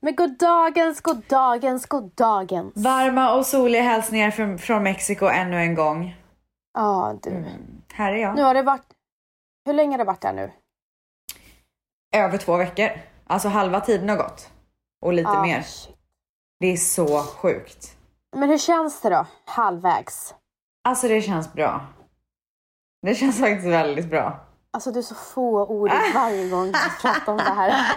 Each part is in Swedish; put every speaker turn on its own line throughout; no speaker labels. Men god dagens, god dagens, god dagens.
Varma och soliga hälsningar från, från Mexiko ännu en gång.
Ja, du.
Här är jag.
Nu har det varit... Hur länge har det varit där nu?
Över två veckor. Alltså halva tiden har gått. Och lite
Ja,
mer.
shit.
Det är så sjukt.
Men hur känns det då? Halvvägs.
Alltså det känns bra. Det känns faktiskt väldigt bra.
Alltså du är så få ord varje gång du pratar om det här.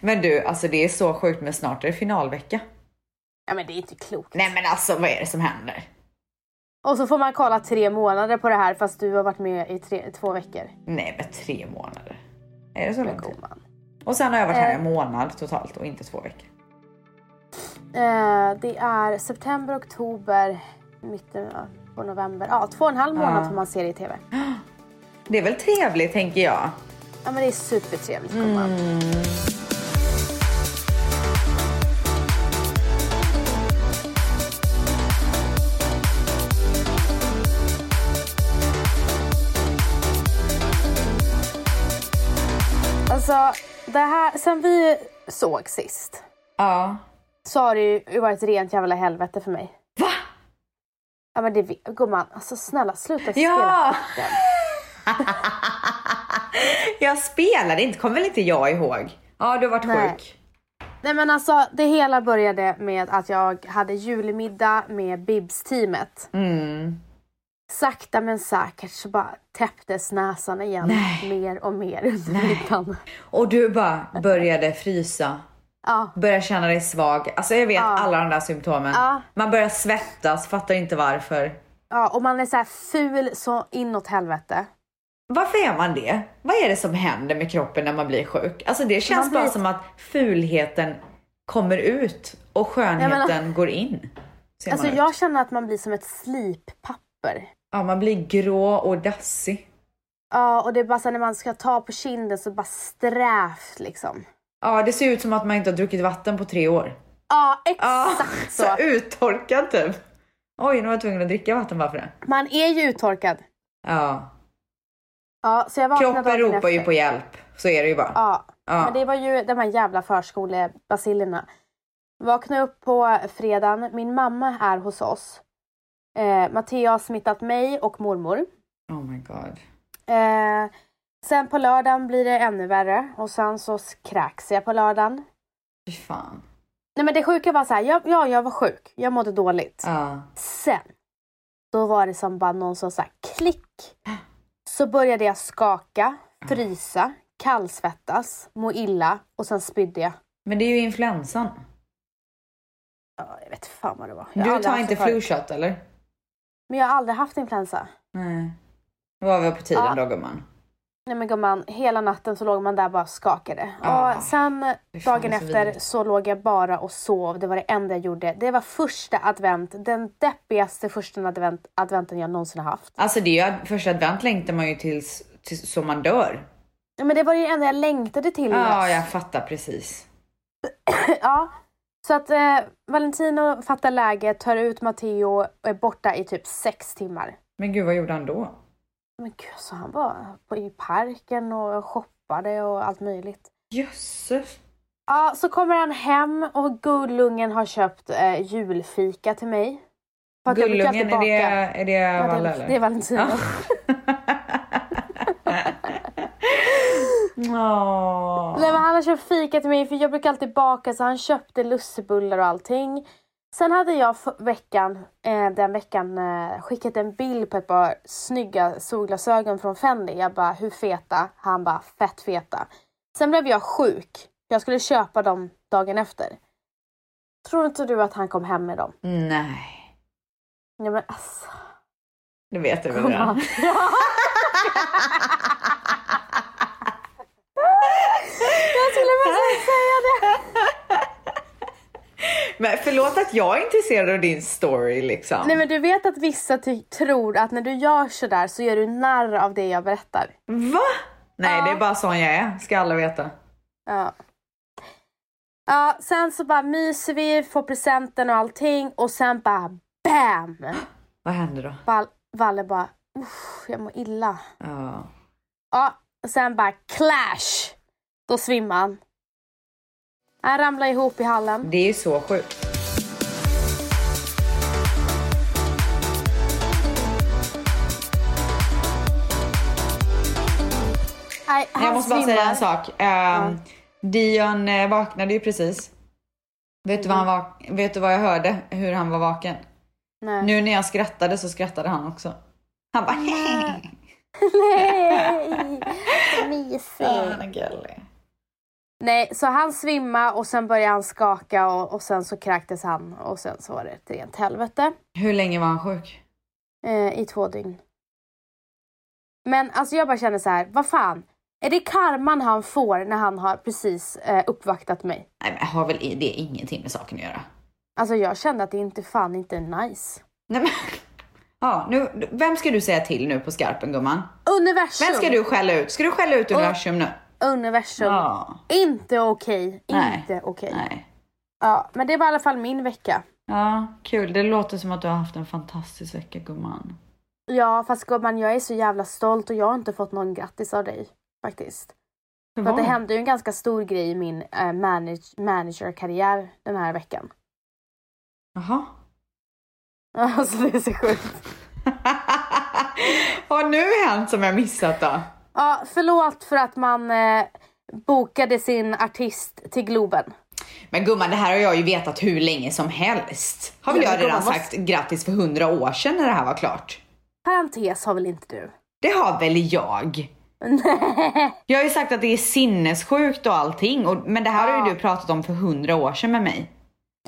Men du, alltså det är så sjukt men snart är det finalvecka.
Ja men det är inte klokt.
Nej men alltså vad är det som händer?
Och så får man kolla tre månader på det här fast du har varit med i tre, två veckor.
Nej men tre månader. Är det så lång tid?
God man.
Och sen har jag varit här
Eh.
en månad totalt och inte två veckor.
Eh, det är september, oktober, mitten av- på november. Ja, två och en halv månad får man se det i TV.
Det är väl trevligt tänker jag.
Ja men det är supertrevligt gumman. Alltså, det här, sen vi såg sist
Ja.
så har det ju varit rent jävla helvete för mig.
Va?
Ja men det vet- gumman, alltså snälla sluta
Ja!
spela.
Jag spelade inte, kommer väl inte jag ihåg? Ja, du har varit
Nej.
sjuk.
Nej men alltså det hela började med att jag hade julmiddag med Bibs-teamet.
Mm.
Sakta men säkert så bara täpptes näsan igen
Nej.
mer och mer under middagen.
Och du bara började frysa,
Ja,
började känna dig svag. Alltså jag vet alla de där symptomen.
Ja.
Man börjar svettas, fattar inte varför.
ja, och man är så här ful så inåt helvete.
Varför är man det? Vad är det som händer med kroppen när man blir sjuk? Alltså det känns
Man blir-
bara som att fulheten kommer ut och skönheten går in. Ser
Alltså
man ut.
jag känner att man blir som ett slippapper.
Ja, man blir grå och dassig.
Ja, och det är bara så här, när man ska ta på kinden så bara strävt liksom.
Ja, det ser ut som att man inte har druckit vatten på tre år.
Ja,
Ja,
exakt
så.
så.
uttorkad typ. Oj, nu var jag tvungen att dricka vatten bara för det.
Man är ju uttorkad.
Ja.
Ja, så jag vaknade
Kroppen
dagen
ropar ju
efter.
på hjälp. Så är det ju bara.
Ja,
Ja.
men det var ju de här jävla förskolebasillerna. Vaknade upp på fredagen. Min mamma är hos oss. Eh, Mattea har smittat mig och mormor.
Oh my god.
Eh, sen på lördagen blir det ännu värre och sen så kräks jag på lördagen.
Fy fan.
Nej men det sjuka var så här, jag, ja jag var sjuk, jag mådde dåligt.
Ja.
Sen, då var det som bara någon som sa klick. Så började jag skaka, frysa, kallsvettas, må illa och sen spydde jag.
Men det är ju influensan.
Ja, jag vet fan vad det alltså var. Jag har
Du
aldrig
tar
haft
inte
det förut.
flu shot eller?
Men jag har aldrig haft influensa.
Nej. Då var vi på tiden
Ja.
då gumman.
Nej men gumman, hela natten så låg man där bara och skakade.
Ah.
och sen
Fy fan,
dagen
det är så
efter
vidrigt.
så låg jag bara och sov. Det var det enda jag gjorde. Det var första advent, den deppigaste första advent, adventen jag någonsin har haft.
Alltså det är ju första advent längtar man ju tills, tills så man dör.
Nej, Men det var det enda jag längtade till.
Ah, Ja, jag fattar precis.
Ja. Så att eh, Valentino fattar läget, tar ut Matteo och är borta i typ sex timmar.
Men gud, vad gjorde han då?
Men gud, så han var på, i parken och shoppade och allt möjligt.
Jösses.
Ja, så kommer han hem och Gullungen har köpt eh, julfika till mig. För att jag brukar
Gullungen, är
alltid
det,
baka.
är det
Ja,
Valle
det, det
eller?
är Valentino.
Åh.
Nej, men han har köpt fika till mig för jag brukar alltid baka så han köpte lussebullar och allting. Sen hade jag för- veckan, eh, den veckan eh, skickat en bild på ett par snygga solglasögon från Fendi. Jag bara, hur feta? Han bara, fett feta. Sen blev jag sjuk. Jag skulle köpa dem dagen efter. Tror inte du att han kom hem med dem?
Nej,
Nej men alltså.
det vet du väl
Kom
redan.
han. Jag skulle verkligen säga det.
Men förlåt att jag är intresserad av din story liksom.
Nej men du vet att vissa ty- tror att när du gör sådär så gör du narr av det jag berättar.
Va? Nej,
Ja.
det är bara sån jag är, ska alla veta.
Ja. Ja, sen så bara myser vi, får presenten och allting och sen bara BAM!
Vad händer då?
Val- Valle bara uff, jag mår illa.
Ja.
Ja, och sen bara clash! Då svimmar han. Han ramlade ihop i hallen.
Det är ju så sjukt.
Nej, han
Jag måste bara
svimmar.
säga en sak. Ehm, Dion eh, vaknade ju precis. Vet du, vad han
Mm.
vak- vet du vad jag hörde? Hur han var vaken?
Nej.
Nu när jag skrattade så skrattade han också. Han bara hehehe.
Nej, vad mysigt.
Han är gullig.
Nej, så han svimma och sen började han skaka och, och sen så kräktes han och sen så var det ett rent helvete
Hur länge var han sjuk?
eh, i två dygn. Men alltså jag bara känner så här, vad fan. Är det karman han får när han har precis eh, uppvaktat mig?
Nej, men har väl i- det ingenting med saken att göra?
Alltså jag kände att det inte fan inte är nice.
Nej, men... Ja, nu, vem ska du säga till nu på skarpen gumman?
Universum!
Vem ska du skälla ut? Ska du skälla ut universum nu?
Universum.
Ja.
Inte okej.
Nej.
Inte okej.
Nej.
Ja, men det var i alla fall min vecka.
Ja, kul. Det låter som att du har haft en fantastisk vecka gumman.
Ja, fast gumman, jag är så jävla stolt och jag har inte fått någon grattis av dig faktiskt. För att det
Vad?
hände ju en ganska stor grej i min eh, manage- managerkarriär den här veckan.
Jaha.
Alltså det är så sjukt.
Vad har nu hänt som jag missat då?
Ja, förlåt för att man eh, bokade sin artist till Globen.
Men gumman, det här har jag ju vetat hur länge som helst. Har väl
Ja,
jag
men
redan
gumman, vad-
sagt grattis för hundra år sedan när det här var klart?
Parentes har väl inte du?
Det har väl jag?
Nej.
Jag har ju sagt att det är sinnessjukt och allting, och, men det här har ju
Ja.
du pratat om för hundra år sedan med mig.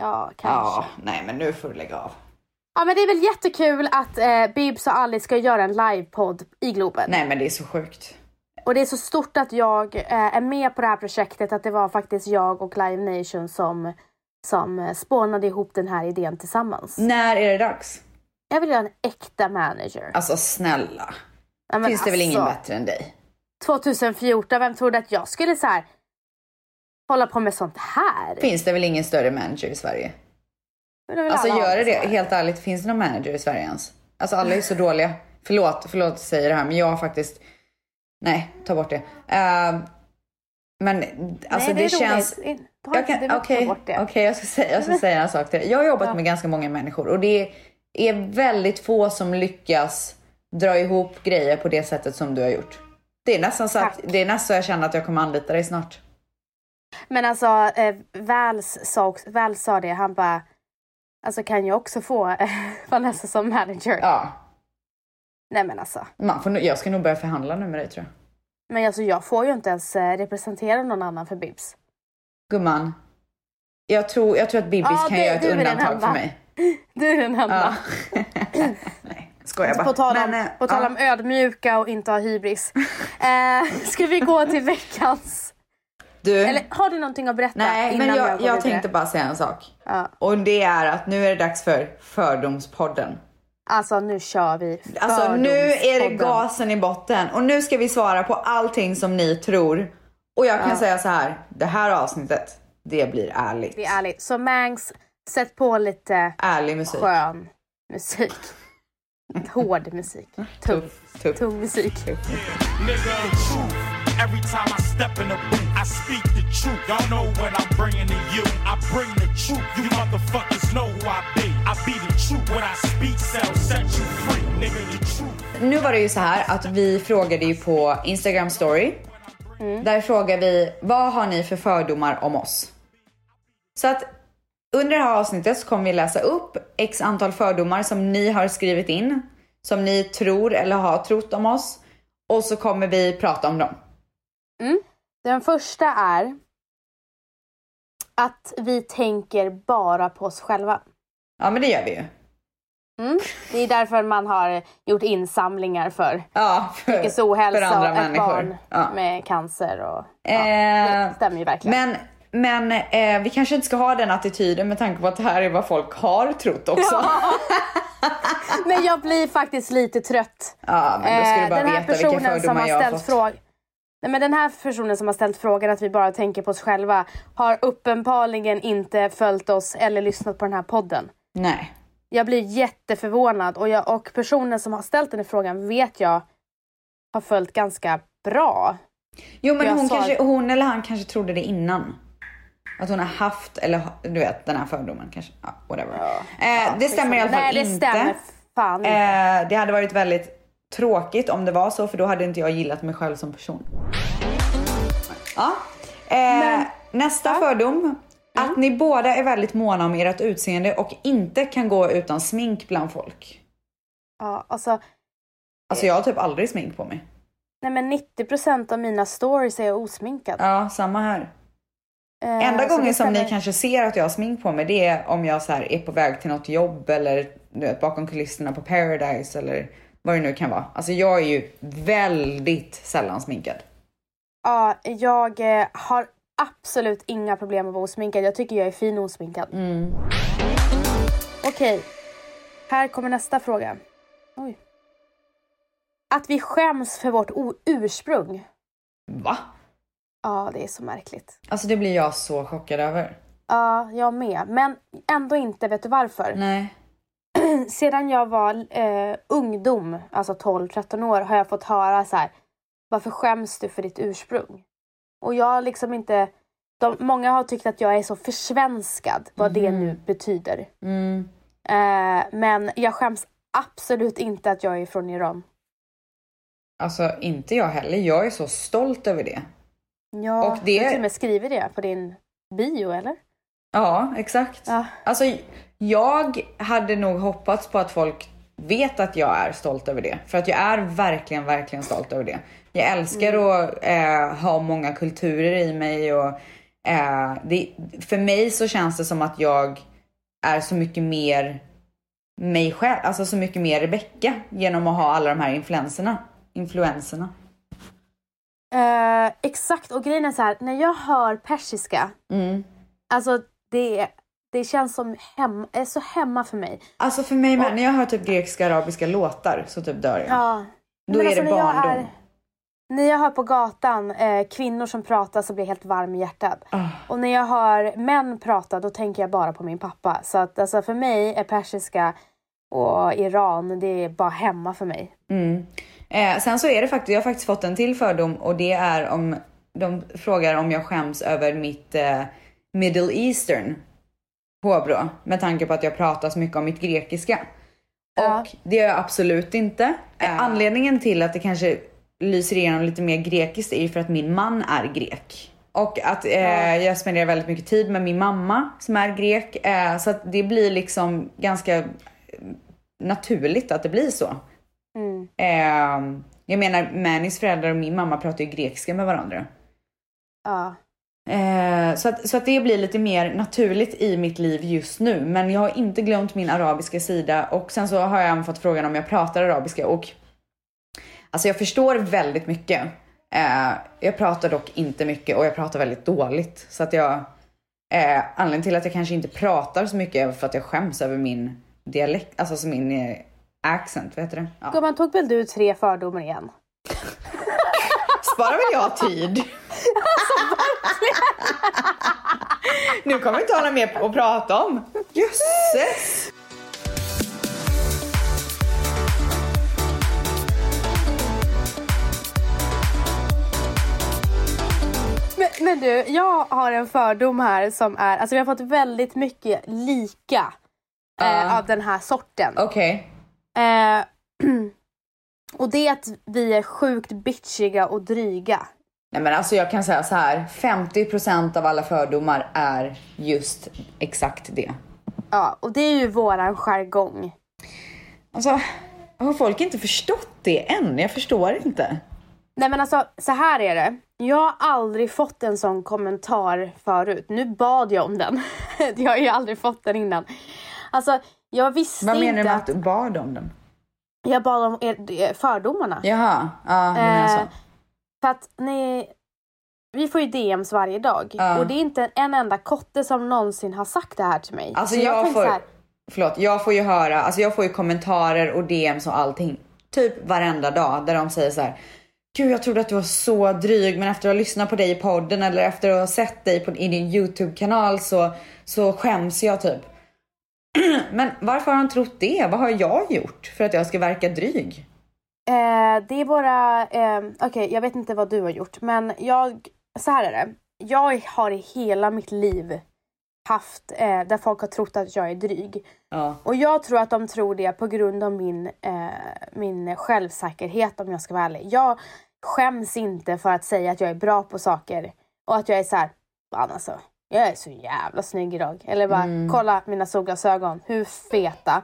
Ja, kanske.
Ja,
Ja.
nej men nu får du lägga av.
men det är väl jättekul att eh, Bibs och Alice ska göra en livepodd i Globen.
Nej men det är så sjukt.
Och det är så stort att jag eh, är med på det här projektet, att det var faktiskt jag och Live Nation som, som eh, spånade ihop den här idén tillsammans.
När är det dags?
Jag vill göra en äkta manager.
Alltså snälla,
Nej, men
finns det väl ingen
alltså,
bättre än dig?
2014, vem trodde att jag skulle så här hålla på med sånt här?
Finns det väl ingen större manager i Sverige?
Men det vill
Alltså
alla ha
gör det det?
så här.
Helt ärligt, finns det någon manager i Sverige ens? Alltså alla är så dåliga. Förlåt, förlåt att jag säger det här men jag har faktiskt... Nej, ta bort det. Ehm, men alltså
Nej,
det,
är
känns...
roligt. In- Ta
Jag
inte, du
kan,
vill ta
okej,
bort det.
okej, jag ska säga, jag ska säga en sak till. Jag har jobbat med ganska många människor och det är väldigt få som lyckas dra ihop grejer på det sättet som du har gjort. Det är nästan så att,
Tack.
det är nästan så jag känner att jag kommer anlita dig snart.
Men alltså, eh, Vals, sa, också- Vals sa det, han bara Alltså kan jag också få eh, Vanessa som manager?
Ja,
Nej men alltså.
man får, nog- jag ska nog börja förhandla nu med dig tror jag.
Men alltså jag får ju inte ens eh, representera någon annan för Bibs.
Gumman, jag tror, jag tror att Bibbis
Ja,
kan
du-
göra ett
du är den
undantag
enda.
för mig.
Du är den
Ja.
enda.
Nej, skojar bara.
Alltså, På tal om,
Men, eh,
på tal om
ja.
ödmjuka och inte ha hybris. Eh, ska vi gå till veckans...
Du,
Eller har du någonting att berätta?
nej men
innan
jag,
går
jag,
vidare?
tänkte bara säga en sak.
Ja.
Och det är att nu är det dags för Fördomspodden.
Alltså nu kör vi.
Alltså nu är det
Fördomspodden.
gasen i botten och nu ska vi svara på allting som ni tror. Och jag kan säga så här, det här avsnittet, det blir ärligt.
Det är ärligt. Så Mangs, sätt på lite
Ärlig musik.
skön musik. Hård musik. Tung,
Tuff, tuff.
tung musik.
Nigga, true. Every time I step in the booth, I speak the truth. Y'all know what I'm bringing to you. I bring the truth. You motherfuckers know who I be. I be the truth. What I speak shall set you free. Nigga, the truth.
Nu var det ju så här att vi frågade ju på Instagram story.
Mm.
Där frågar vi, vad har ni för fördomar om oss? Så att under det här avsnittet så kommer vi läsa upp x antal fördomar som ni har skrivit in. Som ni tror eller har trott om oss. Och så kommer vi prata om dem.
Den första är att vi tänker bara på oss själva.
Ja men det gör vi ju.
Det är därför man har gjort insamlingar för
Ja, för,
psykisk ohälsa
för andra
och ett
människor.
barn
ja.
med cancer. Och,
Eh,
det stämmer ju verkligen.
men men eh, vi kanske inte ska ha den attityden med tanke på att det här är vad folk har trott också.
Men jag blir faktiskt lite trött.
Ja, men då ska du
Eh,
bara
den här
veta vilka
personen som
fördomar
har
jag har
ställt
fått.
frågan Nej, men den här personen som har ställt frågan att vi bara tänker på oss själva har uppenbarligen inte följt oss eller lyssnat på den här podden.
Nej.
Jag blir jätteförvånad och, jag, och personen som har ställt den här frågan vet jag har följt ganska bra.
Jo, men
Jag
hon,
sa-
kanske, hon eller han kanske trodde det innan. Att hon har haft, eller ha- du vet den här fördomen kanske. Ja, whatever.
Ja.
Eh, det stämmer i alla
Liksom. Nej,
fall
det
inte.
stämmer fan inte.
Eh, det hade varit väldigt tråkigt om det var så för då hade inte jag gillat mig själv som person. Ja. Eh, nästa fördom. Att ni båda är väldigt måna om ert utseende och inte kan gå utan smink bland folk.
Ja, alltså,
Alltså jag har typ aldrig smink på mig.
nej men 90 av mina stories är jag osminkad.
Ja, samma här.
Eh,
Enda
så
gången
det
som ni
stämmer.
kanske ser att jag har smink på mig det är om jag så här är på väg till något jobb eller du vet, bakom kulisserna på Paradise eller vad det nu kan vara. Alltså jag är ju väldigt sällan sminkad.
Ja, jag eh, har absolut inga problem med att vara osminkad. Jag tycker jag är fin osminkad. Okej, här kommer nästa fråga. Oj. Att vi skäms för vårt o- ursprung.
Va?
Ja, det är så märkligt.
Alltså det blir jag så chockad över.
Ja, jag med. Men ändå inte. Vet du varför?
Nej.
Sedan jag var eh, ungdom, alltså 12-13 år, har jag fått höra så här. Varför skäms du för ditt ursprung? Och jag har liksom inte... De, många har tyckt att jag är så försvenskad, vad det nu betyder.
Mm.
Eh, men jag skäms absolut inte att jag är från Iran.
Alltså inte jag heller. Jag är så stolt över det.
Ja,
Och
Du
det-
till och med skriver det på din bio, eller?
Ja, exakt.
Ja.
Alltså jag hade nog hoppats på att folk vet att jag är stolt över det. För att jag är verkligen, verkligen stolt över det. Jag älskar att eh, ha många kulturer i mig och eh, det, för mig så känns det som att jag är så mycket mer mig själv, alltså så mycket mer Rebecca genom att ha alla de här influenserna. Influenserna.
Eh, exakt, och grejen är så här, när jag hör persiska,
Mm.
alltså det, det känns som hem, är så hemma för mig.
Alltså för mig med, när jag hör typ grekiska arabiska låtar så typ dör jag.
Ja.
Då
Men
är
alltså,
det
när jag
barndom.
är- När jag hör på gatan eh, kvinnor som pratar så blir jag helt varm i hjärtat.
Ah.
Och när jag hör män prata då tänker jag bara på min pappa. Så att, alltså, för mig är persiska och Iran, det är bara hemma för mig.
Mm. Eh, sen så är det faktiskt, jag har faktiskt fått en till fördom och det är om de frågar om jag skäms över mitt eh, middle eastern påbrå med tanke på att jag pratar så mycket om mitt grekiska.
Ja.
Och det gör jag absolut inte. Eh, Anledningen till att det kanske lyser igenom lite mer grekiskt är ju för att min man är grek. Och att eh, jag spenderar väldigt mycket tid med min mamma som är grek. Eh, så att det blir liksom ganska eh, naturligt att det blir så.
Mm.
Ehm, jag menar, Mannys föräldrar och min mamma pratar ju grekiska med varandra.
Ja.
Ehm, så, att, så att det blir lite mer naturligt i mitt liv just nu. Men jag har inte glömt min arabiska sida och sen så har jag även fått frågan om jag pratar arabiska och alltså jag förstår väldigt mycket. Ehm, jag pratar dock inte mycket och jag pratar väldigt dåligt så att jag eh, anledningen till att jag kanske inte pratar så mycket är för att jag skäms över min dialekt, alltså så min eh, accent, vad heter det? Ja.
Gumman, tog väl du tre fördomar igen?
Sparar väl jag tid? Alltså, nu kommer vi inte ha något mer att prata om. Jösses!
Men, men du, jag har en fördom här som är, alltså vi har fått väldigt mycket lika eh,
Ja.
av den här sorten.
Okej.
Eh, och det är att vi är sjukt bitchiga och dryga.
Nej men alltså jag kan säga så här. 50% av alla fördomar är just exakt det.
Ja, och det är ju våran jargong.
Alltså, har folk inte förstått det än? Jag förstår inte.
Nej men alltså, så här är det. Jag har aldrig fått en sån kommentar förut. Nu bad jag om den. jag har ju aldrig fått den innan. Alltså, jag visste
Vad menar du
inte
med att du bad om den?
Jag bad om er, eh, fördomarna.
Jaha, ja alltså. det menar
Eh,
jag så.
För att ni... Vi får ju DMs varje dag.
Ja.
Och det är inte en enda kotte som någonsin har sagt det här till mig.
Alltså
Så
jag,
tänker
får,
så här,
förlåt, jag får ju höra, alltså jag får ju kommentarer och DMs och allting. Typ varenda dag där de säger så här. Gud jag trodde att du var så dryg men efter att ha lyssnat på dig i podden eller efter att ha sett dig på, i din YouTube-kanal så, så skäms jag typ. men varför har han trott det? Vad har jag gjort för att jag ska verka dryg?
ehm, Eh, det är våra... Eh, Okej, jag vet inte vad du har gjort, men jag... Så här är det. jag har i hela mitt liv haft, eh, där folk har trott att jag är dryg.
Ja.
Och jag tror att de tror det på grund av min, eh, min självsäkerhet om jag ska vara ärlig. Jag skäms inte för att säga att jag är bra på saker och att jag är så här, fan alltså, jag är så jävla snygg idag. Eller bara,
Mm.
kolla mina solglasögon, hur feta.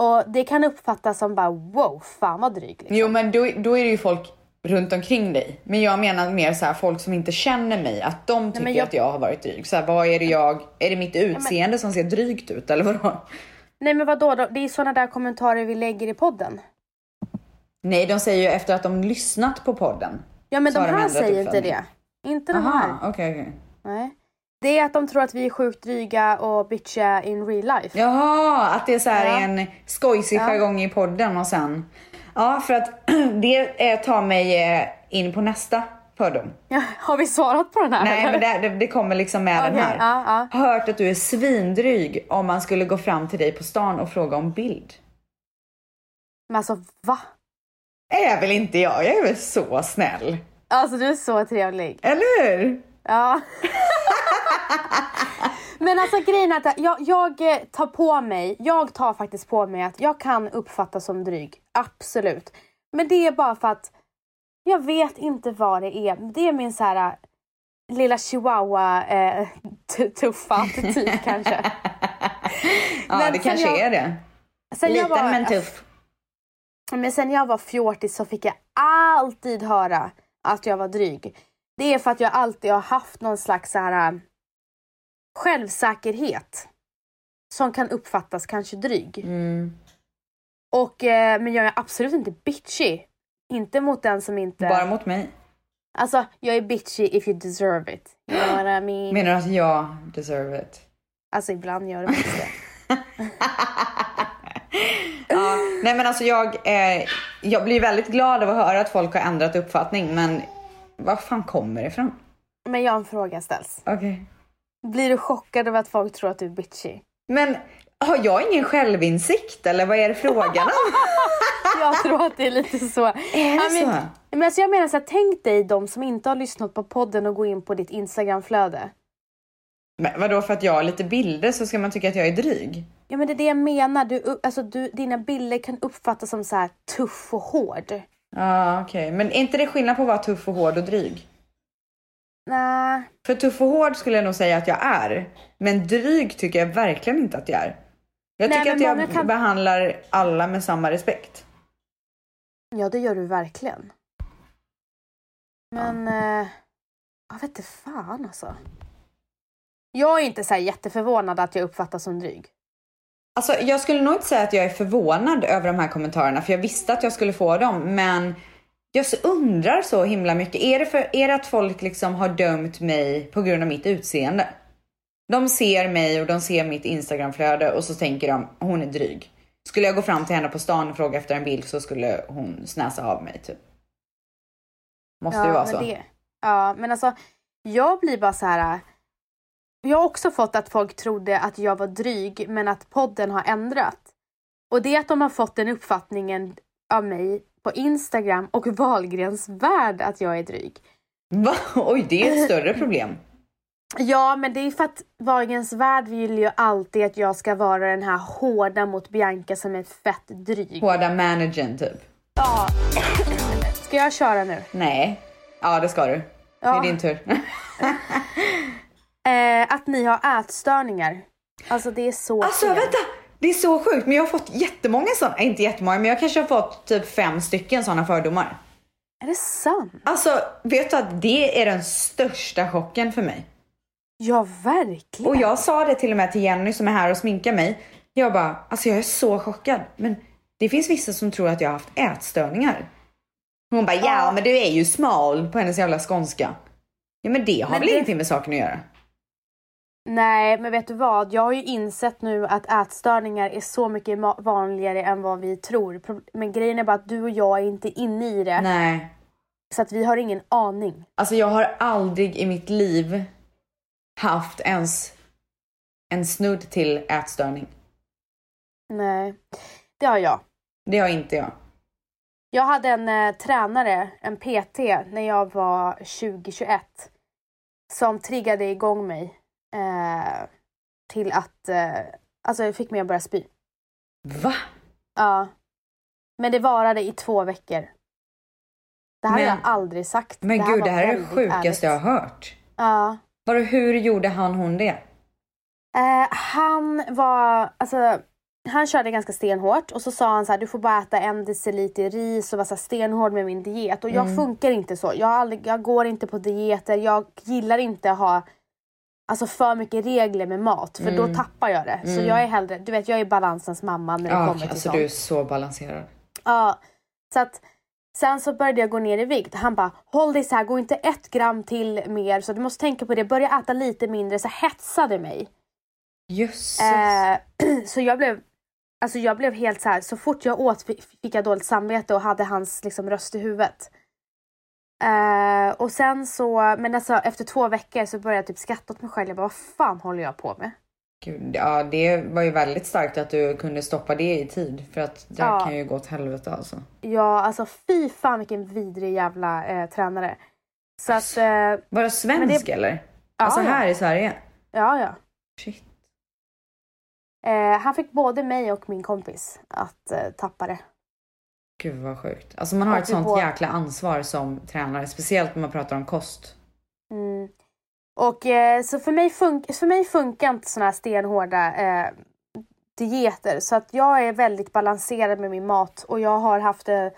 Och det kan uppfattas som bara, wow, fan vad dryg. Liksom.
Jo, men då, då är det ju folk runt omkring dig. Men jag menar mer så här folk som inte känner mig, att de tycker
jag-
att jag har varit dryg. Så här, vad är det jag, är det mitt utseende som ser drygt ut eller vadå?
Nej men vadå, då? det är sådana där kommentarer vi lägger i podden.
Nej, de säger ju efter att de lyssnat på podden.
Ja men
Så
de
har de
här
ändrat
säger inte
uppfattning.
det. Inte de här.
typ Aha, okej okej.
Nej. Det är att de tror att vi är sjukt dryga och bitchiga in real life.
Jaha, att det är så här
Ja.
en skojsig jargong i podden och sen. Ja, för att det eh, tar mig eh, in på nästa fördom.
Har vi svarat på den här?
Nej,
eller?
men det, det, det kommer liksom med den
Okej,
här.
ja,
Har Hört att du är svindryg om man skulle gå fram till dig på stan och fråga om bild.
Men alltså va?
Är väl inte jag, jag är väl så snäll.
Alltså du är så trevlig.
Eller hur?
Ja. men alltså grejen är att jag, jag eh, tar på mig, jag tar faktiskt på mig att jag kan uppfattas som dryg. Absolut. Men det är bara för att jag vet inte vad det är. Det är min så här eh, lilla chihuahua eh, t- tuffa attityd kanske.
Ja,
Men
det
sen
kanske
jag-
är det.
Sen jag
Liten
var- Alltså,
men tuff.
Men sen jag var fjortis så fick jag alltid höra att jag var dryg. Det är för att jag alltid har haft någon slags så här, äh, självsäkerhet som kan uppfattas kanske dryg.
Mm.
Och, eh, men jag är absolut inte bitchy. Inte mot den som inte...
Bara mot mig.
Alltså, jag är bitchy if you deserve it. You know what I mean?
Menar du att jag deserve it?
Alltså, ibland gör det faktiskt det.
Ja, nej men alltså jag, eh, jag blir väldigt glad av att höra att folk har ändrat uppfattning men var fan kommer det ifrån?
Men jag har en fråga ställs.
Okej.
Blir du chockad över att folk tror att du är bitchy?
Men har jag ingen självinsikt eller vad är det frågan om?
Jag tror att det är lite så.
Är det
men,
så?
Men alltså jag menar så här, tänk dig de som inte har lyssnat på podden och går in på ditt Instagramflöde.
Men vadå för att jag har lite bilder så ska man tycka att jag är dryg?
Ja men det är det jag menar, du, alltså, du, dina bilder kan uppfattas som så här tuff och hård.
Ja okej, men är inte det skillnad på att vara tuff och hård och dryg?
Nej,
För tuff och hård skulle jag nog säga att jag är, men dryg tycker jag verkligen inte att jag är. Jag
Nej,
tycker
men
att jag
många kan-
behandlar alla med samma respekt.
ja det gör du verkligen. Men, eh, jag vet inte fan alltså. Jag är inte så här jätteförvånad att jag uppfattas som dryg.
Alltså, jag skulle nog inte säga att jag är förvånad över de här kommentarerna för jag visste att jag skulle få dem men jag så undrar så himla mycket. Är det, för, är det att folk liksom har dömt mig på grund av mitt utseende? De ser mig och de ser mitt instagramflöde och så tänker de hon är dryg. Skulle jag gå fram till henne på stan och fråga efter en bild så skulle hon snäsa av mig typ. Måste ju vara
men
så.
det- ja, men alltså jag blir bara så här. äh, Jag har också fått att folk trodde att jag var dryg men att podden har ändrat. Och det är att de har fått den uppfattningen av mig på Instagram och Wahlgrens värld att jag är dryg.
Va? Oj, det är ett större problem.
Ja, men det är för att Wahlgrens värld vill ju alltid att jag ska vara den här hårda mot Bianca som är fett dryg.
Hårda managern typ.
Ja. Ska jag köra nu?
Nej. Ja, det ska du. Det
Ja.
är din tur.
Eh, att ni har ätstörningar. Alltså det är så
Alltså
fel.
vänta! Det är så sjukt, men jag har fått jättemånga sådana, inte jättemånga, men jag kanske har fått typ fem stycken sådana fördomar.
Är det sant?
Alltså, vet du att det är den största chocken för mig?
Ja, verkligen.
Och jag sa det till och med till Jenny som är här och sminkar mig. Jag bara, alltså jag är så chockad, men det finns vissa som tror att jag har haft ätstörningar. Hon bara, ja men du är ju smal på hennes jävla skånska. Ja men det har
Men
väl
det-
ingenting med saken att göra?
Nej, men vet du vad? Jag har ju insett nu att ätstörningar är så mycket ma- vanligare än vad vi tror. Pro- Men grejen är bara att du och jag är inte inne i det,
Nej,
så att vi har ingen aning.
Alltså jag har aldrig i mitt liv haft ens en snudd till ätstörning.
Nej, det har jag.
Det har inte jag.
Jag hade en eh, tränare, en PT, när jag var 20-21 som triggade igång mig eh, till att, eh, alltså jag fick mig att börja spy.
Va?
Ja. Men det varade i två veckor. Det här har jag
Men-
aldrig sagt.
Men gud,
var
det här är det
väldigt
sjukaste
ärligt.
jag har hört.
Ja.
Vadå, hur gjorde han hon det?
Eh, han var, alltså, han körde ganska stenhårt och så sa han så här, du får bara äta en deciliter ris och vara så här stenhård med min diet. Och jag
Mm.
funkar inte så. Jag, har aldrig, jag går inte på dieter, jag gillar inte att ha alltså, för mycket regler med mat för
Mm.
då tappar jag det. Så jag är hellre, du vet jag är balansens mamma när det
Ah,
kommer till
alltså
sånt.
du är så balanserad.
Ja, så att sen så började jag gå ner i vikt. Han bara, håll dig så här, gå inte ett gram till mer så du måste tänka på det, börja äta lite mindre. Så hetsade mig.
Jösses.
Eh, så jag blev, alltså jag blev helt så här, så fort jag åt fi- fick jag dåligt samvete och hade hans liksom, röst i huvudet. Eh, och sen så, men alltså efter två veckor så började jag typ skratta åt mig själv. Jag bara, vad fan håller jag på med?
Gud, ja, det var ju väldigt starkt att du kunde stoppa det i tid för att det här
Ja.
kan ju gå åt helvete alltså.
Ja, alltså fy fan vilken vidrig jävla eh, tränare. Så att, eh,
Var det svensk eller? alltså
ja.
här i Sverige?
ja ja.
Shit.
Eh, han fick både mig och min kompis att eh, tappa det.
Gud vad sjukt. Alltså man har
Och
ett
vi
sånt
båda-
jäkla ansvar som tränare, speciellt när man pratar om kost.
Mm. Och eh, så för mig, fun- för mig funkar inte såna här stenhårda eh, dieter. Så att jag är väldigt balanserad med min mat och jag har haft en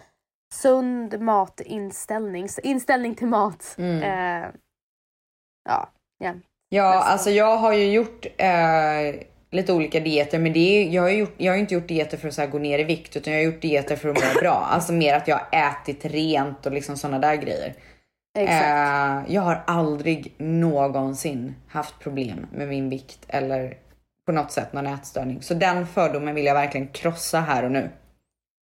sund matinställning. Så inställning till mat.
Mm.
Eh, ja, ja.
Ja,
Nästan.
alltså jag har ju gjort eh, lite olika dieter, men det är, jag, har ju gjort, jag har ju inte gjort dieter för att så här, gå ner i vikt, utan jag har gjort dieter för att må bra. Alltså mer att jag har ätit rent och liksom sådana där grejer.
Exakt.
Eh, jag har aldrig någonsin haft problem med min vikt eller på något sätt någon ätstörning. Så den fördomen vill jag verkligen krossa här och nu.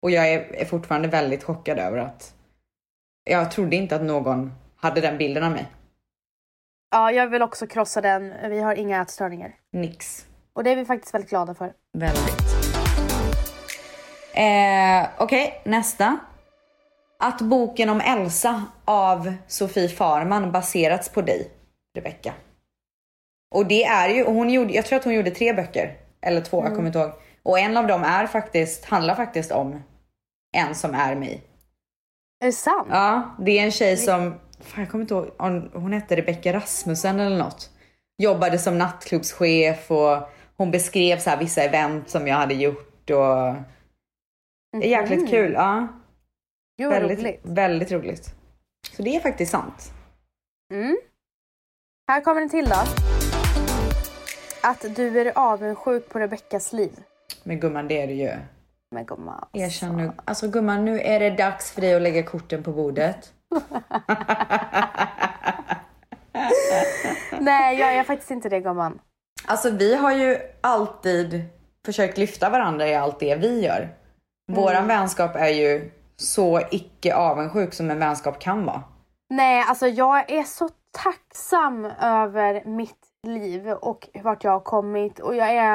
Och jag är, är fortfarande väldigt chockad över att jag trodde inte att någon hade den bilden av mig.
Ja, jag vill också krossa den. Vi har inga ätstörningar.
Nix.
Och det är vi faktiskt väldigt glada för.
Väldigt. Eh, Okej, nästa. Att boken om Elsa av Sofie Farman baserats på dig, Rebecka. Och det är ju, och hon gjorde, jag tror att hon gjorde tre böcker. Eller två, jag kommer inte ihåg. Och en av dem är faktiskt, handlar faktiskt om en som är mig.
Är det sant?
Ja, det är en tjej som, fan jag kommer inte ihåg, hon, hon hette Rebecka Rasmussen eller något. Jobbade som nattklubbschef och hon beskrev så här vissa event som jag hade gjort och det är jäkligt kul. Ja,
Gud, Mhm. vad
väldigt,
roligt.
väldigt roligt. Så det är faktiskt sant.
Mm. Här kommer en till då. Att du är avundsjuk på Rebeckas liv.
Men gumman, det är det ju.
Men gumman.
Erkänn nu. Alltså gumman, nu är det dags för dig att lägga korten på bordet.
Nej, jag är faktiskt inte det gumman.
Alltså vi har ju alltid försökt lyfta varandra i allt det vi gör.
Mm.
Våran vänskap är ju så icke avundsjuk som en vänskap kan vara.
Nej, alltså jag är så tacksam över mitt liv och vart jag har kommit. Och jag är...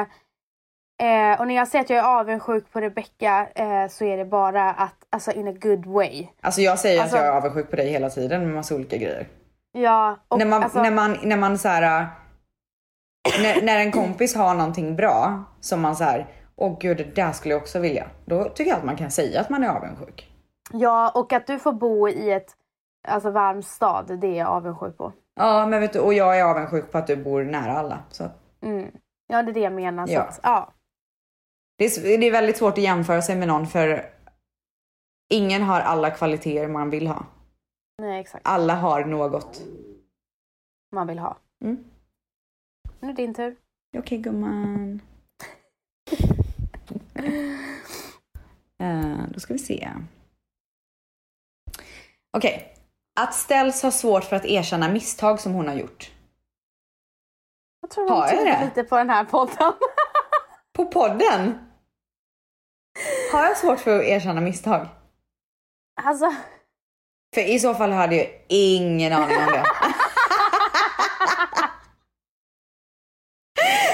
Eh, och när jag säger att jag är avundsjuk på Rebecca eh, så är det bara att, alltså in a good way.
Alltså jag säger
Alltså-
att jag är avundsjuk på dig hela tiden med massa olika grejer.
Ja, och
när man,
alltså,
när man, när man så här, äh, när, när en kompis har någonting bra som man så här, åh gud det där skulle jag också vilja. Då tycker jag att man kan säga att man är avundsjuk.
ja, och att du får bo i ett alltså, varm stad, det är jag avundsjuk på.
Ja men vet du, och jag är avundsjuk på att du bor nära alla. Så att
Mm. Ja, det är det jag menar.
Ja.
Så att, ja.
Det är, s- det är väldigt svårt att jämföra sig med någon för ingen har alla kvaliteter man vill ha.
Nej, exakt.
Alla har något.
Man vill ha.
Mm.
Nu är det din tur.
Okej gumman. Eh, då ska vi se. Okej. Att Ställs har svårt för att erkänna misstag som hon har gjort.
Jag tror
Har
man
jag
tittar
det?
lite på den här podden.
På podden! Har jag svårt för att erkänna misstag?
alltså,
För i så fall hade jag ingen aning om det.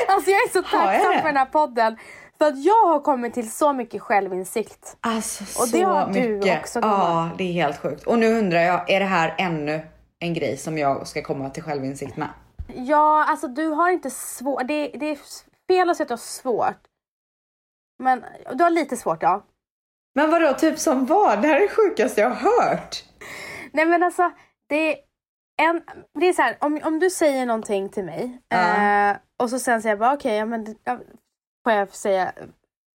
alltså jag är så
Har jag
tacksam
det?
för den här podden. För att jag har kommit till så mycket självinsikt.
Alltså
Och
så
det har du
mycket.
också,
Ja,
gumman.
det är helt sjukt. Och nu undrar jag, är det här ännu en grej som jag ska komma till självinsikt med.
Ja, alltså du har inte svårt. Det, det är fel att säga att du har svårt. Men du har lite svårt, ja.
Men vadå, typ som vad? Det här är det sjukaste jag har hört.
Nej men alltså, det är, en, det är så här, om, om du säger någonting till mig
Ja.
eh, och så sen säger jag bara okej, ja, men det- ja, får jag säga,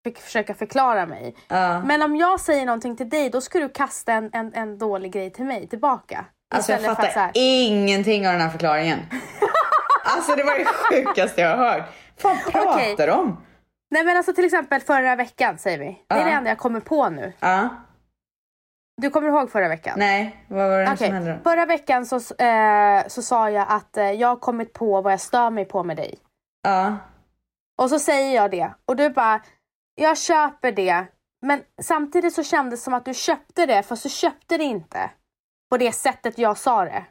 fick försöka förklara mig.
Ja.
Men om jag säger någonting till dig, då ska du kasta en, en, en dålig grej till mig tillbaka.
Alltså jag
Istället för
fattar
att så här-
ingenting av den här förklaringen. alltså det var det sjukaste jag har hört. Vad fan pratar
Okej.
de om?
Nej men alltså till exempel förra veckan säger vi. Det är
Ja.
det enda jag kommer på nu.
Ja,
Du kommer ihåg förra veckan?
nej, vad var det
Okej,
som hände då?
förra veckan så, eh, så sa jag att eh, jag har kommit på vad jag stör mig på med dig.
Ja,
Och så säger jag det och du bara, jag köper det. Men samtidigt så kändes det som att du köpte det fast du köpte det inte. På det sättet jag sa det.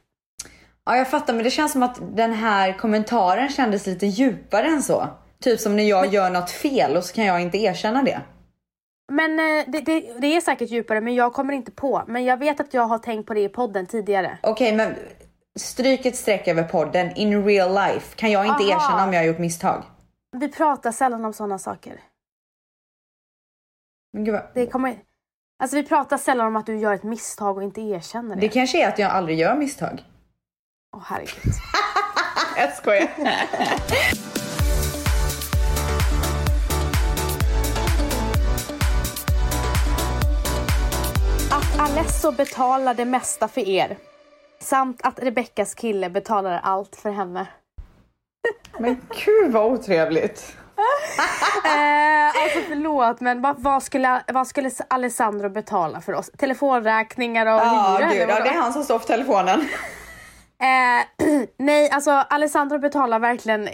ja, jag fattar men det känns som att den här kommentaren kändes lite djupare än så. Typ som när jag gör något fel och så kan jag inte erkänna det.
Men eh, det, det, det är säkert djupare men jag kommer inte på. Men jag vet att jag har tänkt på det i podden tidigare.
Okej, men stryk ett streck över podden. In real life kan jag
Aha.
inte erkänna om jag har gjort misstag.
Vi pratar sällan om sådana saker.
Men gud vad...
Det kommer... Alltså vi pratar sällan om att du gör ett misstag och inte erkänner det.
Det kanske är att jag aldrig gör misstag.
Åh herregud.
Jag skojar.
Att Alesso betalar det mesta för er. Samt att Rebeckas kille betalar allt för henne.
Men gud vad otrevligt.
Eh, alltså förlåt men vad, vad, skulle, vad skulle Alessandro betala för oss? Telefonräkningar och
Ja,
hyra?
gud,
eller
ja, det
vadå?
är han som står för telefonen.
Eh, nej, alltså Alessandro betalar verkligen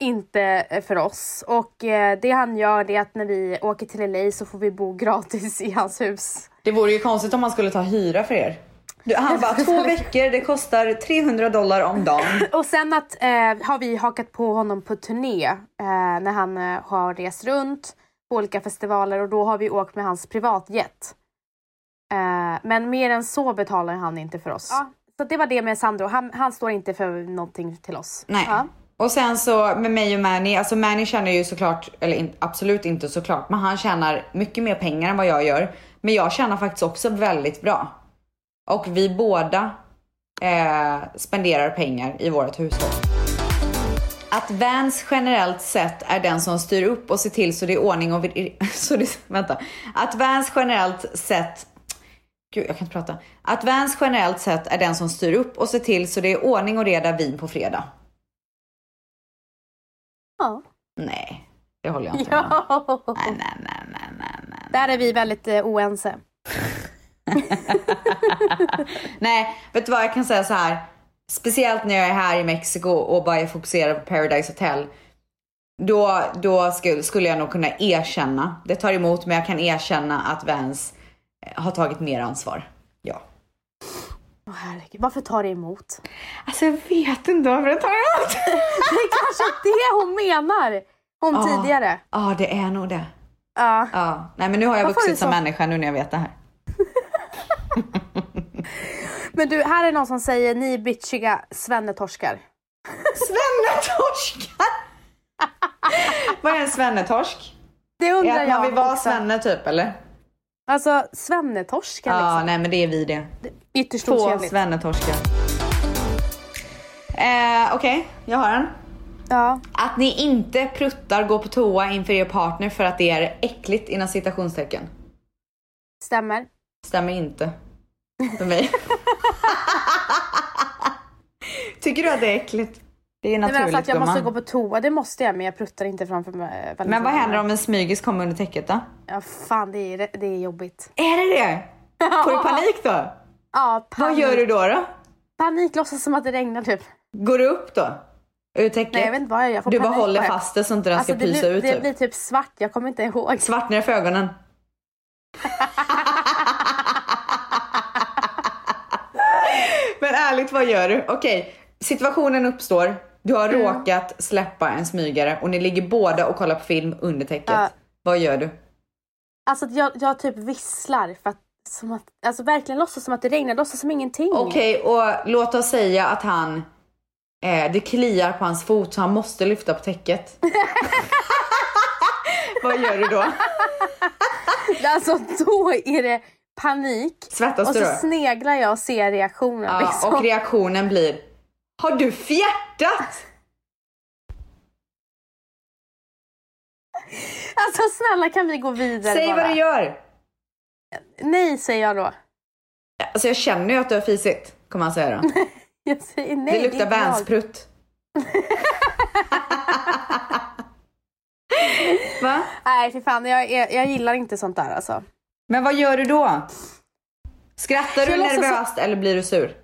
inte för oss. Och eh, det han gör det är att när vi åker till LA så får vi bo gratis i hans hus.
Det vore ju konstigt om man skulle ta hyra för er. Du, han bara två veckor, det kostar 300 dollar om dagen.
Och sen att, eh, har vi hakat på honom på turné eh, när han eh, har rest runt på olika festivaler och då har vi åkt med hans privatjet. Eh, men mer än så betalar han inte för oss. Så det var det med Sandro, han, han står inte för någonting till oss.
Nej.
Ja.
Och sen så med mig och Mani, alltså Mani tjänar ju såklart, eller in, absolut inte såklart, men han tjänar mycket mer pengar än vad jag gör. Men jag tjänar faktiskt också väldigt bra. Och vi båda eh, spenderar pengar i vårt hushåll. Att Vans generellt sett är den som styr upp och ser till så det är ordning och... vir- Så det, vänta. Att Vans generellt sett Gud, jag kan inte prata. Att Vans generellt sett är den som styr upp och ser till så det är ordning och reda vin på fredag.
Ja.
Nej, det håller jag inte med om.
Ja.
Nej, nej, nej, nej, nej, nej.
Där är vi väldigt eh, oense.
Nej, vet du vad jag kan säga så här. Speciellt när jag är här i Mexiko och bara är fokuserad på Paradise Hotel. Då, då skulle, skulle jag nog kunna erkänna. Det tar emot men jag kan erkänna att Vans eh, har tagit mer ansvar. Ja.
Åh herregud, varför tar det emot?
Alltså jag vet inte varför det tar emot.
Det är kanske det hon menar! Hon
Ja.
tidigare.
Ja, det är nog det.
Ja.
Ja, nej men nu har jag
Varför är
vuxit
det
som
så?
människa nu när jag vet det här.
Men du, här är någon som säger ni är bitchiga svennetorskar.
Svennetorskar! Vad är en svennetorsk?
Det
Är
undrar
att man
jag
vill vara
också.
svenne typ eller?
Alltså svennetorskar
Ja,
liksom.
nej men det är vi det.
Ytterst
Två
otrevligt.
svennetorskar. Eh, Okej, jag har en.
Ja.
Att ni inte pruttar, går på toa inför er partner för att det är äckligt inom citationstecken.
Stämmer.
Stämmer inte. För mig. Tycker du att det är äckligt? Det är
Nej,
naturligt
men alltså att jag måste
gumman.
gå på toa, det måste jag men jag pruttar inte framför eh, Valentina.
Men vad händer om en smygis kommer under täcket då?
Ja fan det är, det är jobbigt.
Är det det? Får du panik då?
Ja,
Vad
panik.
gör du då? då?
Panik låtsas som att det regnar typ.
Går du upp då? Ur täcket?
Nej jag vet inte vad jag gör, jag får
du bara
panik
håller
bara.
fast det så inte den
Alltså,
ska
det,
pysa
blir,
ut
det
typ.
blir typ svart, jag kommer inte ihåg.
Svartnar för ögonen. Men ärligt, vad gör du? Okej, situationen uppstår. Du
Mm.
har råkat släppa en smygare och ni ligger båda och kollar på film under täcket.
Ja. Mm.
Vad gör du?
Alltså att jag, jag typ visslar för att som att, alltså verkligen låtsas som att det regnar, låtsas som ingenting.
Okej, och låt oss säga att han, eh, det kliar på hans fot så han måste lyfta på täcket. Vad gör du då?
Alltså då är det panik.
Svettas
och
du
så
då? Ah,
sneglar jag och ser reaktionen.
Ja,
liksom.
och reaktionen blir, har du fjärtat?
Alltså snälla kan vi gå vidare
Säg
bara?
vad du gör.
Nej säger jag då.
Alltså jag känner ju att du har fisit, kommer han säga då.
Jag säger nej.
Det
är
luktar
inte jag.
Vans-prutt. Va?
Nej fy fan, jag, jag, jag gillar inte sånt där alltså.
Men vad gör du då? Skrattar du
Jag låtsas-
nervöst eller blir du sur?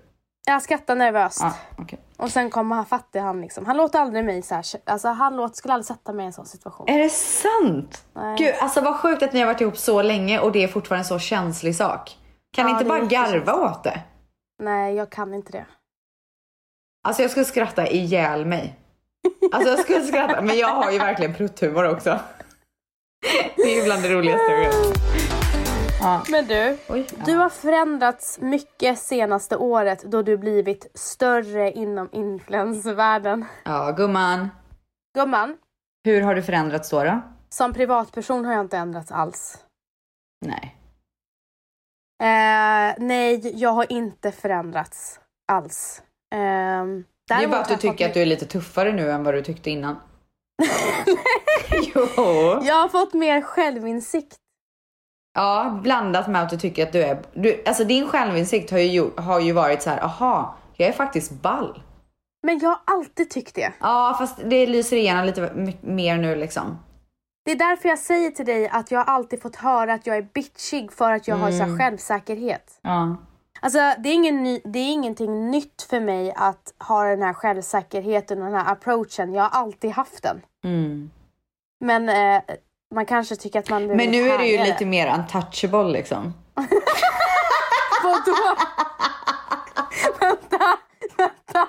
Jag skrattar nervöst.
Ja, okej.
Och sen kommer han, fattig han liksom. Han låter aldrig mig så här, alltså han låter, skulle aldrig sätta mig i en sån situation.
Är det sant?
Nej.
Gud, alltså vad sjukt att ni har varit ihop så länge och det är fortfarande en så känslig sak. Kan ni
Ja,
inte
det är
bara
jättekänsligt.
garva åt det?
Nej jag kan inte det.
Alltså jag skulle skratta ihjäl mig. Alltså jag skulle skratta, men jag har ju verkligen prutthumor också. Det är ju bland det roligaste jag vet. Ja.
Men du,
Oj, ja.
du har förändrats mycket senaste året då du blivit större inom influencervärlden.
ja, gumman.
Gumman,
Hur har du förändrats då? då?
som privatperson har jag inte ändrats alls.
Nej.
Eh, nej, jag har inte förändrats alls. Eh,
Det är bara att du tycker att du är lite tuffare nu än vad du tyckte innan. jo.
Jag har fått mer självinsikt.
Ja, blandat med att du tycker att du är... Du, alltså din självinsikt har ju, gjort- har ju varit så här, aha, jag är faktiskt ball.
Men jag har alltid tyckt det.
Ja, fast det lyser igenom lite my- mer nu liksom.
Det är därför jag säger till dig att jag har alltid fått höra att jag är bitchig för att jag har
Mm.
så här självsäkerhet.
Ja.
Alltså, det, är ingen ny, det är ingenting nytt för mig att ha den här självsäkerheten och den här approachen. Jag har alltid haft den.
Mm.
Men eh, man kanske tycker att man blir
Men nu är du ju
härligare.
lite mer untouchable liksom.
Vadå? vänta, vänta.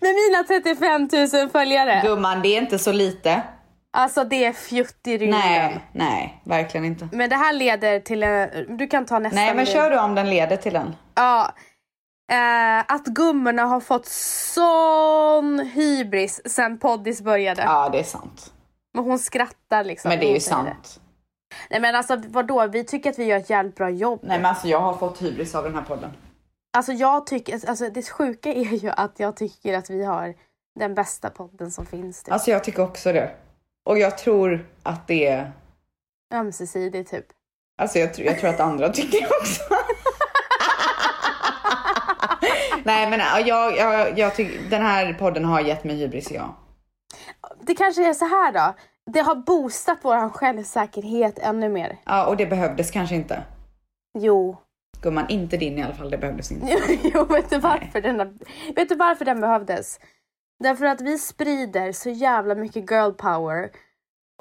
Med mina 35 000 följare.
Gumman, det är inte så lite.
Alltså det är fjutt i rymden.
Nej, nej, verkligen inte.
Men det här leder till en... Du kan ta nästa.
Nej, men
nu.
kör du om den leder till den.
Ja. Eh, att gummorna har fått sån hybris sen poddis började.
Ja, det är sant.
Men hon skrattar liksom.
Men det
när
är
hon
ju
säger det.
sant.
Nej men alltså vadå, vi tycker att vi gör ett jävligt bra jobb.
Nej, men alltså jag har fått hybris av den här podden.
Alltså jag tycker, alltså det sjuka är ju att jag tycker att vi har den bästa podden som finns. Typ.
Alltså jag tycker också det. Och jag tror att det är...
Ömsesidig typ.
Alltså jag, tr- jag tror att andra tycker det också. Nej men ja, jag, jag, jag tycker den här podden har gett mig hybris ja.
Det kanske är så här då. Det har boostat vår självsäkerhet ännu mer.
Ja och det behövdes kanske inte.
Jo.
Gumman, inte din i alla fall, det behövdes inte.
jo vet, du varför den, har- vet du varför den behövdes? Därför att vi sprider så jävla mycket girl power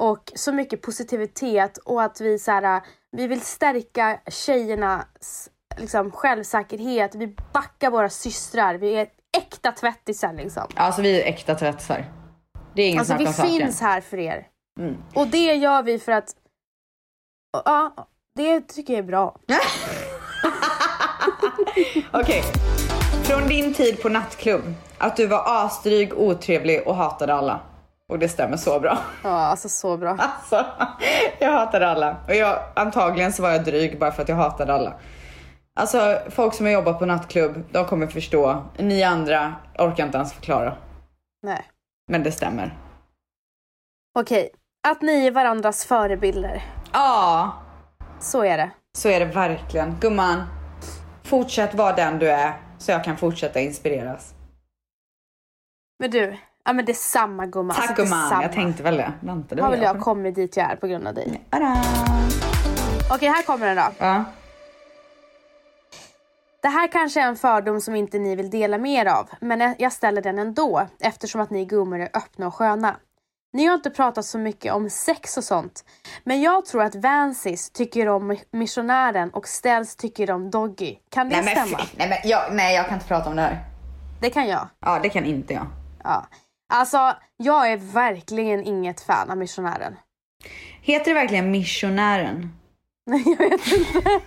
och så mycket positivitet och att vi så här, vi vill stärka tjejernas liksom, självsäkerhet. Vi backar våra systrar. Vi är äkta tvättisar liksom.
Alltså vi är äkta tvättisar. Det är ingen
Alltså
snack
vi
om saken.
finns här för er.
Mm.
Och det gör vi för att... Ja, det tycker jag är bra.
Okej. Från din tid på nattklubb, att du var asdryg, otrevlig och hatade alla. Och det stämmer så bra.
Ja, alltså så bra.
Alltså, jag hatade alla. Och jag, antagligen så var jag dryg bara för att jag hatade alla. Alltså folk som har jobbat på nattklubb, de kommer förstå. Ni andra orkar inte ens förklara.
Nej.
Men det stämmer.
Okej, att ni är varandras förebilder.
Ja,
Så är det.
så är det verkligen. Gumman, fortsätt vara den du är så jag kan fortsätta inspireras.
Men du, ja men det är samma gumman.
Tack
Alltså, det är
gumman,
samma.
jag tänkte Mm. väl det. Väntade
Har väl jag
på
kommit dit jag är på grund av dig.
det. Tada.
Okej, här kommer den då.
Ja.
Det här kanske är en fördom som inte ni vill dela med er av, men jag ställer den ändå eftersom att ni gummor är öppna och sköna. Ni har inte pratat så mycket om sex och sånt, men jag tror att Vansis tycker om missionären och Ställs tycker om Doggy. Kan det
Nej men,
stämma?
fy- nej, men jag, nej jag kan inte prata om det här.
Det kan jag.
Ja det kan inte jag.
Ja. Alltså, jag är verkligen inget fan av missionären.
Heter det verkligen missionären?
Nej, jag vet inte.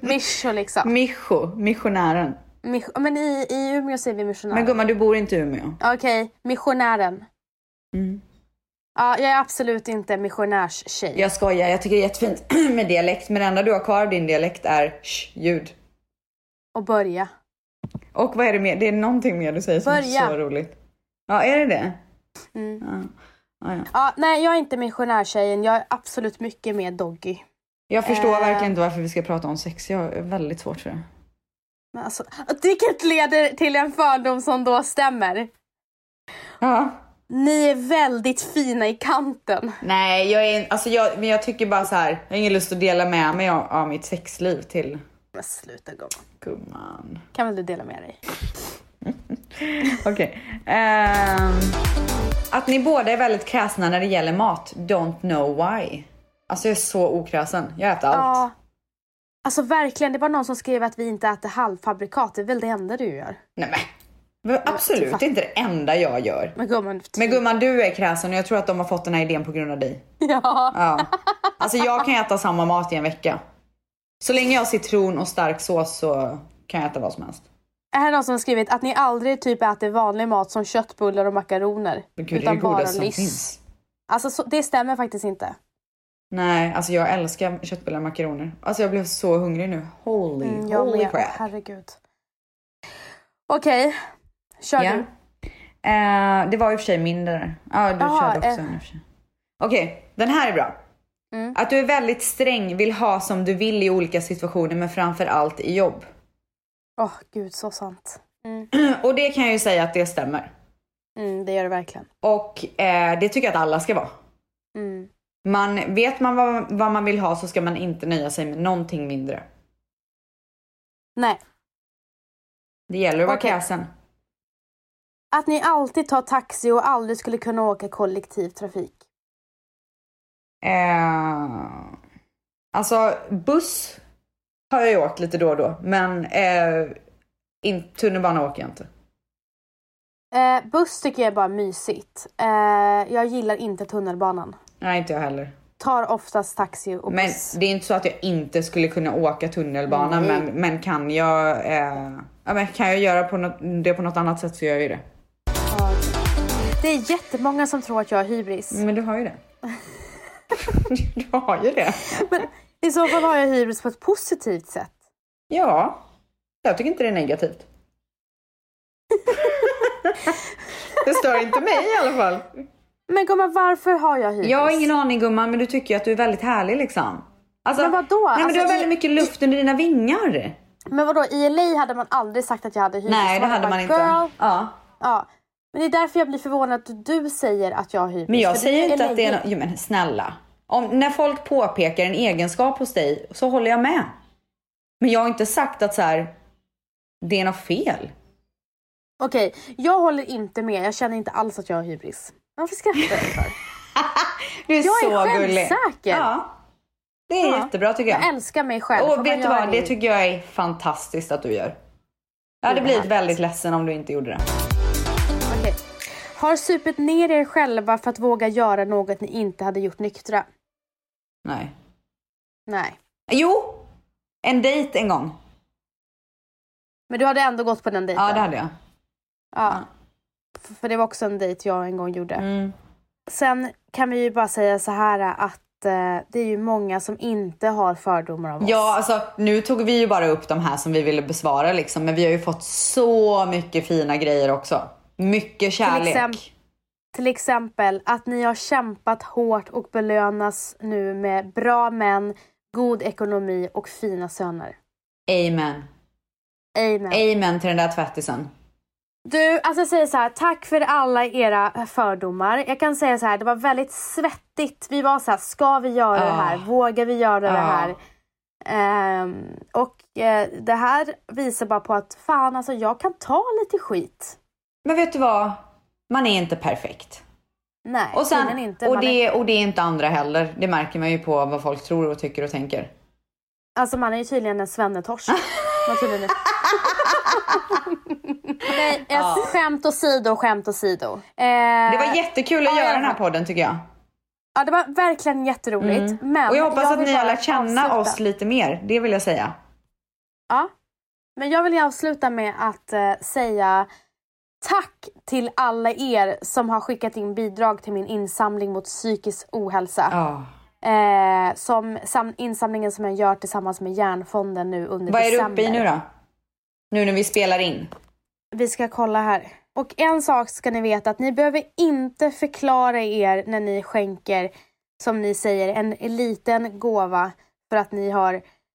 Mischo liksom.
Mischo, missionären.
Misch, men i, i Umeå säger vi missionär.
Men gumman, du bor inte i Umeå.
Okej, missionären.
Mm.
Ja, jag är absolut inte missionärstjej.
Jag skojar, jag tycker det är jättefint med dialekt. Men det enda du har kvar av din dialekt är sh-ljud.
Och börja.
Och vad är det mer? Det är någonting mer du säger som är
Börja.
så roligt. Ja, är det det?
Mm.
Ja. Ja, ja.
Ja, nej, jag är inte missionärstjejen. Jag är absolut mycket mer doggy.
Jag förstår
Eh.
verkligen inte varför vi ska prata om sex. Jag är väldigt svårt för det.
Men alltså, vilket leder till en fördom som då stämmer.
Ja.
Ni är väldigt fina i kanten.
Nej, jag är, alltså jag, men jag tycker bara så här. Jag har ingen lust att dela med mig av, av mitt sexliv till
Men sluta gumman.
gumman.
Kan väl du dela med dig?
Okej. Ehm, att ni båda är väldigt kräsna när det gäller mat. Don't know why. Alltså jag är så okräsen. Jag äter allt.
Ja. Alltså verkligen, det var någon som skrev att vi inte äter halvfabrikat. Det är väl det enda du gör?
Nej men. Det var
typ.
Absolut inte det enda jag gör.
Men gumman.
Men gumman, du är kräsen och jag tror att de har fått den här idén på grund av dig.
Ja.
Ja. Alltså jag kan äta samma mat i en vecka. Så länge jag har citron och stark sås så kan jag äta vad som helst.
Är här någon som har skrivit att ni aldrig typ äter vanlig mat som köttbullar och makaroner?
Men gud, det är
utan
det
bara
godaste som
lyss.
finns.
Alltså så, det stämmer faktiskt inte.
Nej, alltså jag älskar köttbullar och makaroner. Alltså jag blev så hungrig nu. Holy,
Mm, Jag
holy
med.
crap.
Herregud. Okej, kör
Ja.
du.
Eh, det var i och för sig min det där. Ja, du
Ja,
körde också
eh. Mm.
en i och för sig. Okej, den här är bra. Att du är väldigt sträng, vill ha som du vill i olika situationer men framför allt i jobb.
Åh gud, så sant. Mm.
Och det kan jag ju säga att det stämmer.
Mm, det gör det verkligen.
Och eh, det tycker jag att alla ska vara.
Mm.
Man, vet man vad, vad man vill ha så ska man inte nöja sig med någonting mindre.
Nej.
Det gäller att vara
Okej.
kräsen.
Att ni alltid tar taxi och aldrig skulle kunna åka kollektivtrafik.
Eh, alltså buss har jag ju åkt lite då och då, men eh, in, tunnelbana åker jag inte.
Eh, buss tycker jag är bara mysigt. Eh, jag gillar inte tunnelbanan.
Nej, inte jag heller.
Tar oftast taxi och
Men
buss.
det är inte så att jag inte skulle kunna åka tunnelbana, men, men kan jag eh, ja, men kan jag göra på något, det på något annat sätt så gör jag ju det.
Ja. Det är jättemånga som tror att jag är hybris.
Mm, Men du har ju det. du har ju det.
Men i så fall har jag hybris på ett positivt sätt.
Ja, jag tycker inte det är negativt. det stör inte mig i alla fall.
Men gumman, varför har jag hybris?
Jag har ingen aning gumman, men du tycker ju att du är väldigt härlig liksom. Alltså,
Men vadå?
Nej, men
Alltså,
du har
i-
väldigt mycket luft under dina vingar.
Men vadå, i LA hade man aldrig sagt att jag hade hybris.
Nej, det
Man
hade
bara,
man inte.
Girl.
Ja.
Ja. Men det är därför jag blir förvånad att du säger att jag har hybris.
Men jag
för
säger inte
LA.
att det är no- Jo men snälla. Om, när folk påpekar en egenskap hos dig så håller jag med. Men jag har inte sagt att så här, det är något fel.
Okej, jag håller inte med. Jag känner inte alls att jag har hybris. Varför skrattar du för?
Du är
Jag är
så gullig.
självsäker.
Ja. Det är
Ja.
jättebra tycker jag.
Jag älskar mig själv. Får man
Och vet du
göra
vad, det tycker jag är fantastiskt att du gör. Jag hade
vad
blivit
härligt.
väldigt ledsen om du inte gjorde det.
Okej. Har supit ner er själva för att våga göra något ni inte hade gjort nyktra?
Nej.
Nej.
Jo! En dejt en gång.
Men du hade ändå gått på den dejten?
Ja, det hade jag.
Ja. F- För det var också en dejt jag en gång gjorde.
Mm.
Sen kan vi ju bara säga så här att eh, det är ju många som inte har fördomar om oss.
Ja, alltså nu tog vi ju bara upp de här som vi ville besvara liksom, men vi har ju fått så mycket fina grejer också. Mycket kärlek.
exempel- Till exempel att ni har kämpat hårt och belönas nu med bra män, god ekonomi och fina söner.
Amen.
Amen.
Amen till den där tvättisen.
Du, alltså jag säger så här, tack för alla era fördomar. Jag kan säga så här, det var väldigt svettigt. Vi var så här, ska vi göra det här?
Ah.
Vågar vi göra det
Ah.
här? Ehm, och eh, det här visar bara på att fan alltså, jag kan ta lite skit.
Men vet du vad? Man är inte perfekt.
Nej,
Och, sen,
tydligen inte.
och,
Man är-
det, och det är inte andra heller. Det märker man ju på vad folk tror och tycker och tänker.
Alltså man är ju tydligen en svennetorsk. Man är tydligen en... Nej, jag- skämt åsido, skämt åsido. Eh,
Det var jättekul att
ja,
göra
Eh, ja.
den här podden tycker jag.
Ja, det var verkligen jätteroligt. Men
Mm. Och jag hoppas att
vill
ni har
bara
lärt känna
avsluta.
oss lite mer. Det vill jag säga.
Ja. Men jag vill avsluta med att eh, säga tack till alla er som har skickat in bidrag till min insamling mot psykisk ohälsa.
Ja.
Eh, som sam- insamlingen som jag gör tillsammans med Hjärnfonden nu under
Vad är du
december.
uppe i nu då? Nu när vi spelar in.
Vi ska kolla här. Och en sak ska ni veta att ni behöver inte förklara er när ni skänker, som ni säger, en liten gåva för att ni har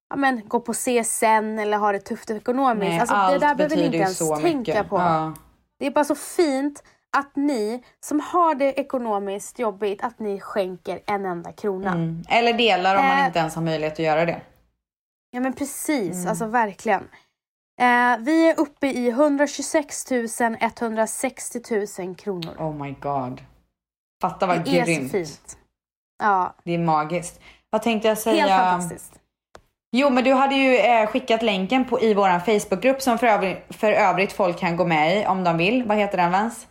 ja, men, går på CSN eller har det tufft ekonomiskt. alltså, det där behöver ni inte ens tänka på.
Ja.
Det är bara så fint att ni som har det ekonomiskt jobbigt, att ni skänker en enda krona.
Mm. Eller delar om man
Eh.
inte ens har möjlighet att göra det.
Ja men precis,
Mm.
alltså verkligen. Eh, vi är uppe i 126 160 000 kronor.
Oh my god. Fatta vad
det är så
grymt.
fint. Ja,
Det är magiskt. Vad tänkte jag säga?
helt fantastiskt.
Jo, men du hade ju eh, skickat länken på, i vår Facebookgrupp som för övrigt, för övrigt folk kan gå med i om de vill. Vad heter den Vans?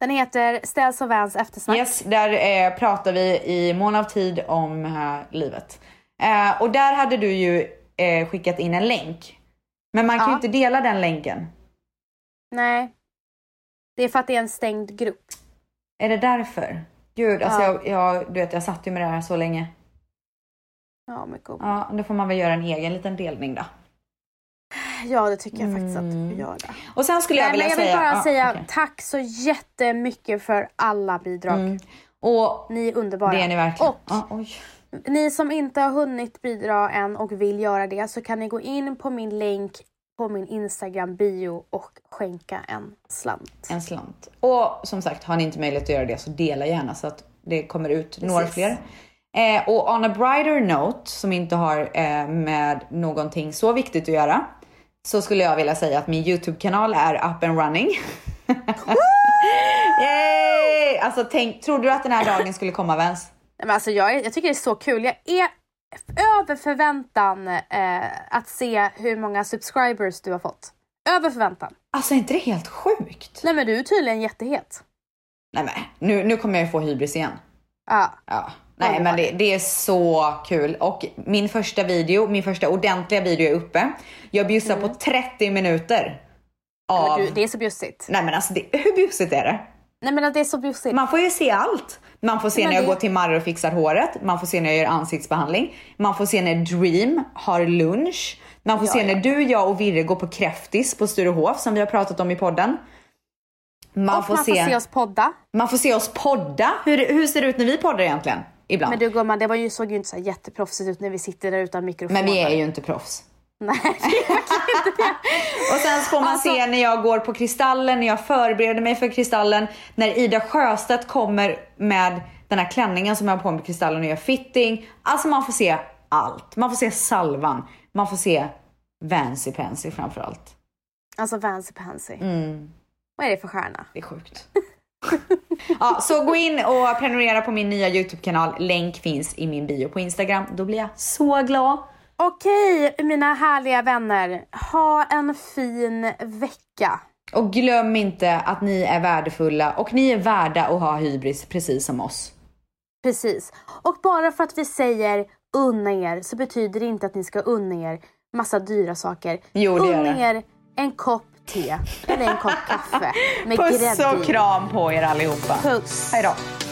Den heter Ställs och Vans eftersnack.
Yes, där eh, pratar vi i mån av tid om eh, livet. Eh, och där hade du ju eh, skickat in en länk. Men man kan ju
Ja.
inte dela den länken.
Nej. Det är för att det är en stängd grupp.
Är det därför? Gud, alltså
Ja.
jag, jag, du vet jag satt ju med det här så länge.
Ja, men god.
Ja, då får man väl göra en egen liten delning då.
ja det tycker jag faktiskt att du gör. Det.
Och sen Mm. skulle jag
Nej,
vilja
men jag vill
säga...
bara
ja,
säga
okej.
tack så jättemycket för alla bidrag.
Och
Ni är underbara.
Mm. det är ni verkligen.
Och
Ja, oj.
Ni som inte har hunnit bidra än och vill göra det så kan ni gå in på min länk på min Instagram bio och skänka en slant.
En slant. Och som sagt, har ni inte möjlighet att göra det så dela gärna så att det kommer ut några fler. Eh, och on a brighter note, som inte har eh, med någonting så viktigt att göra, så skulle jag vilja säga att min YouTube-kanal är up and running. Yay! Alltså tänk, trodde du att den här dagen skulle komma Vens?
Nej, Men alltså jag, är, jag tycker det är så kul. Jag är över förväntan eh, att se hur många subscribers du har fått. Över förväntan.
Alltså är inte det helt sjukt?
Nej men du är tydligen jättehet.
Nej men nu, nu kommer jag ju få hybris igen.
Ja.
Ja. Nej men det, det är så kul och min första video, min första ordentliga video är uppe. Jag bjussar på 30 minuter.
Mm. Men
Av...
gud, det är så bjussigt.
Nej men alltså det, hur bjussigt är det?
Nej men att det är så bjussigt.
Man får ju se allt. Man får se
Men
när jag
det-
går till Marre och fixar håret, man får se när jag gör ansiktsbehandling, man får se när Dream har lunch, man får
Ja,
se
ja.
när du, jag och Virre går på Kräftis på Sturehof som vi har pratat om i podden. Man,
och
får,
man
se,
får se oss podda.
man får se oss podda. Hur, hur ser det ut när vi poddar egentligen? Ibland.
Men du gumman, det var ju, såg ju inte så här jätteproffsigt ut när vi sitter där utan mikrofon.
Men vi är ju inte proffs.
Nej.
Och sen får man se när jag går på Kristallen, när jag förbereder mig för Kristallen, när Ida Sjöstedt kommer med den här klänningen som jag har på mig på Kristallen och gör fitting. Alltså man får se allt. Man får se salvan, man får se Vancy Pansy framförallt.
Alltså Vancy Pansy.
Mm.
Vad är det för stjärna?
Det är sjukt. ja, så gå in och prenumerera på min nya Youtube-kanal. Länk finns i min bio på Instagram. Då blir jag så glad.
Okej, mina härliga vänner. Ha en fin vecka.
Och glöm inte att ni är värdefulla och ni är värda att ha hybris precis som oss.
Precis. Och bara för att vi säger unna er så betyder det inte att ni ska unna er massa dyra saker.
Jo, det gör
unna
det.
er en kopp te eller en kopp kaffe med grädde
Puss
i.
och kram på er allihopa.
Puss.
Hej då.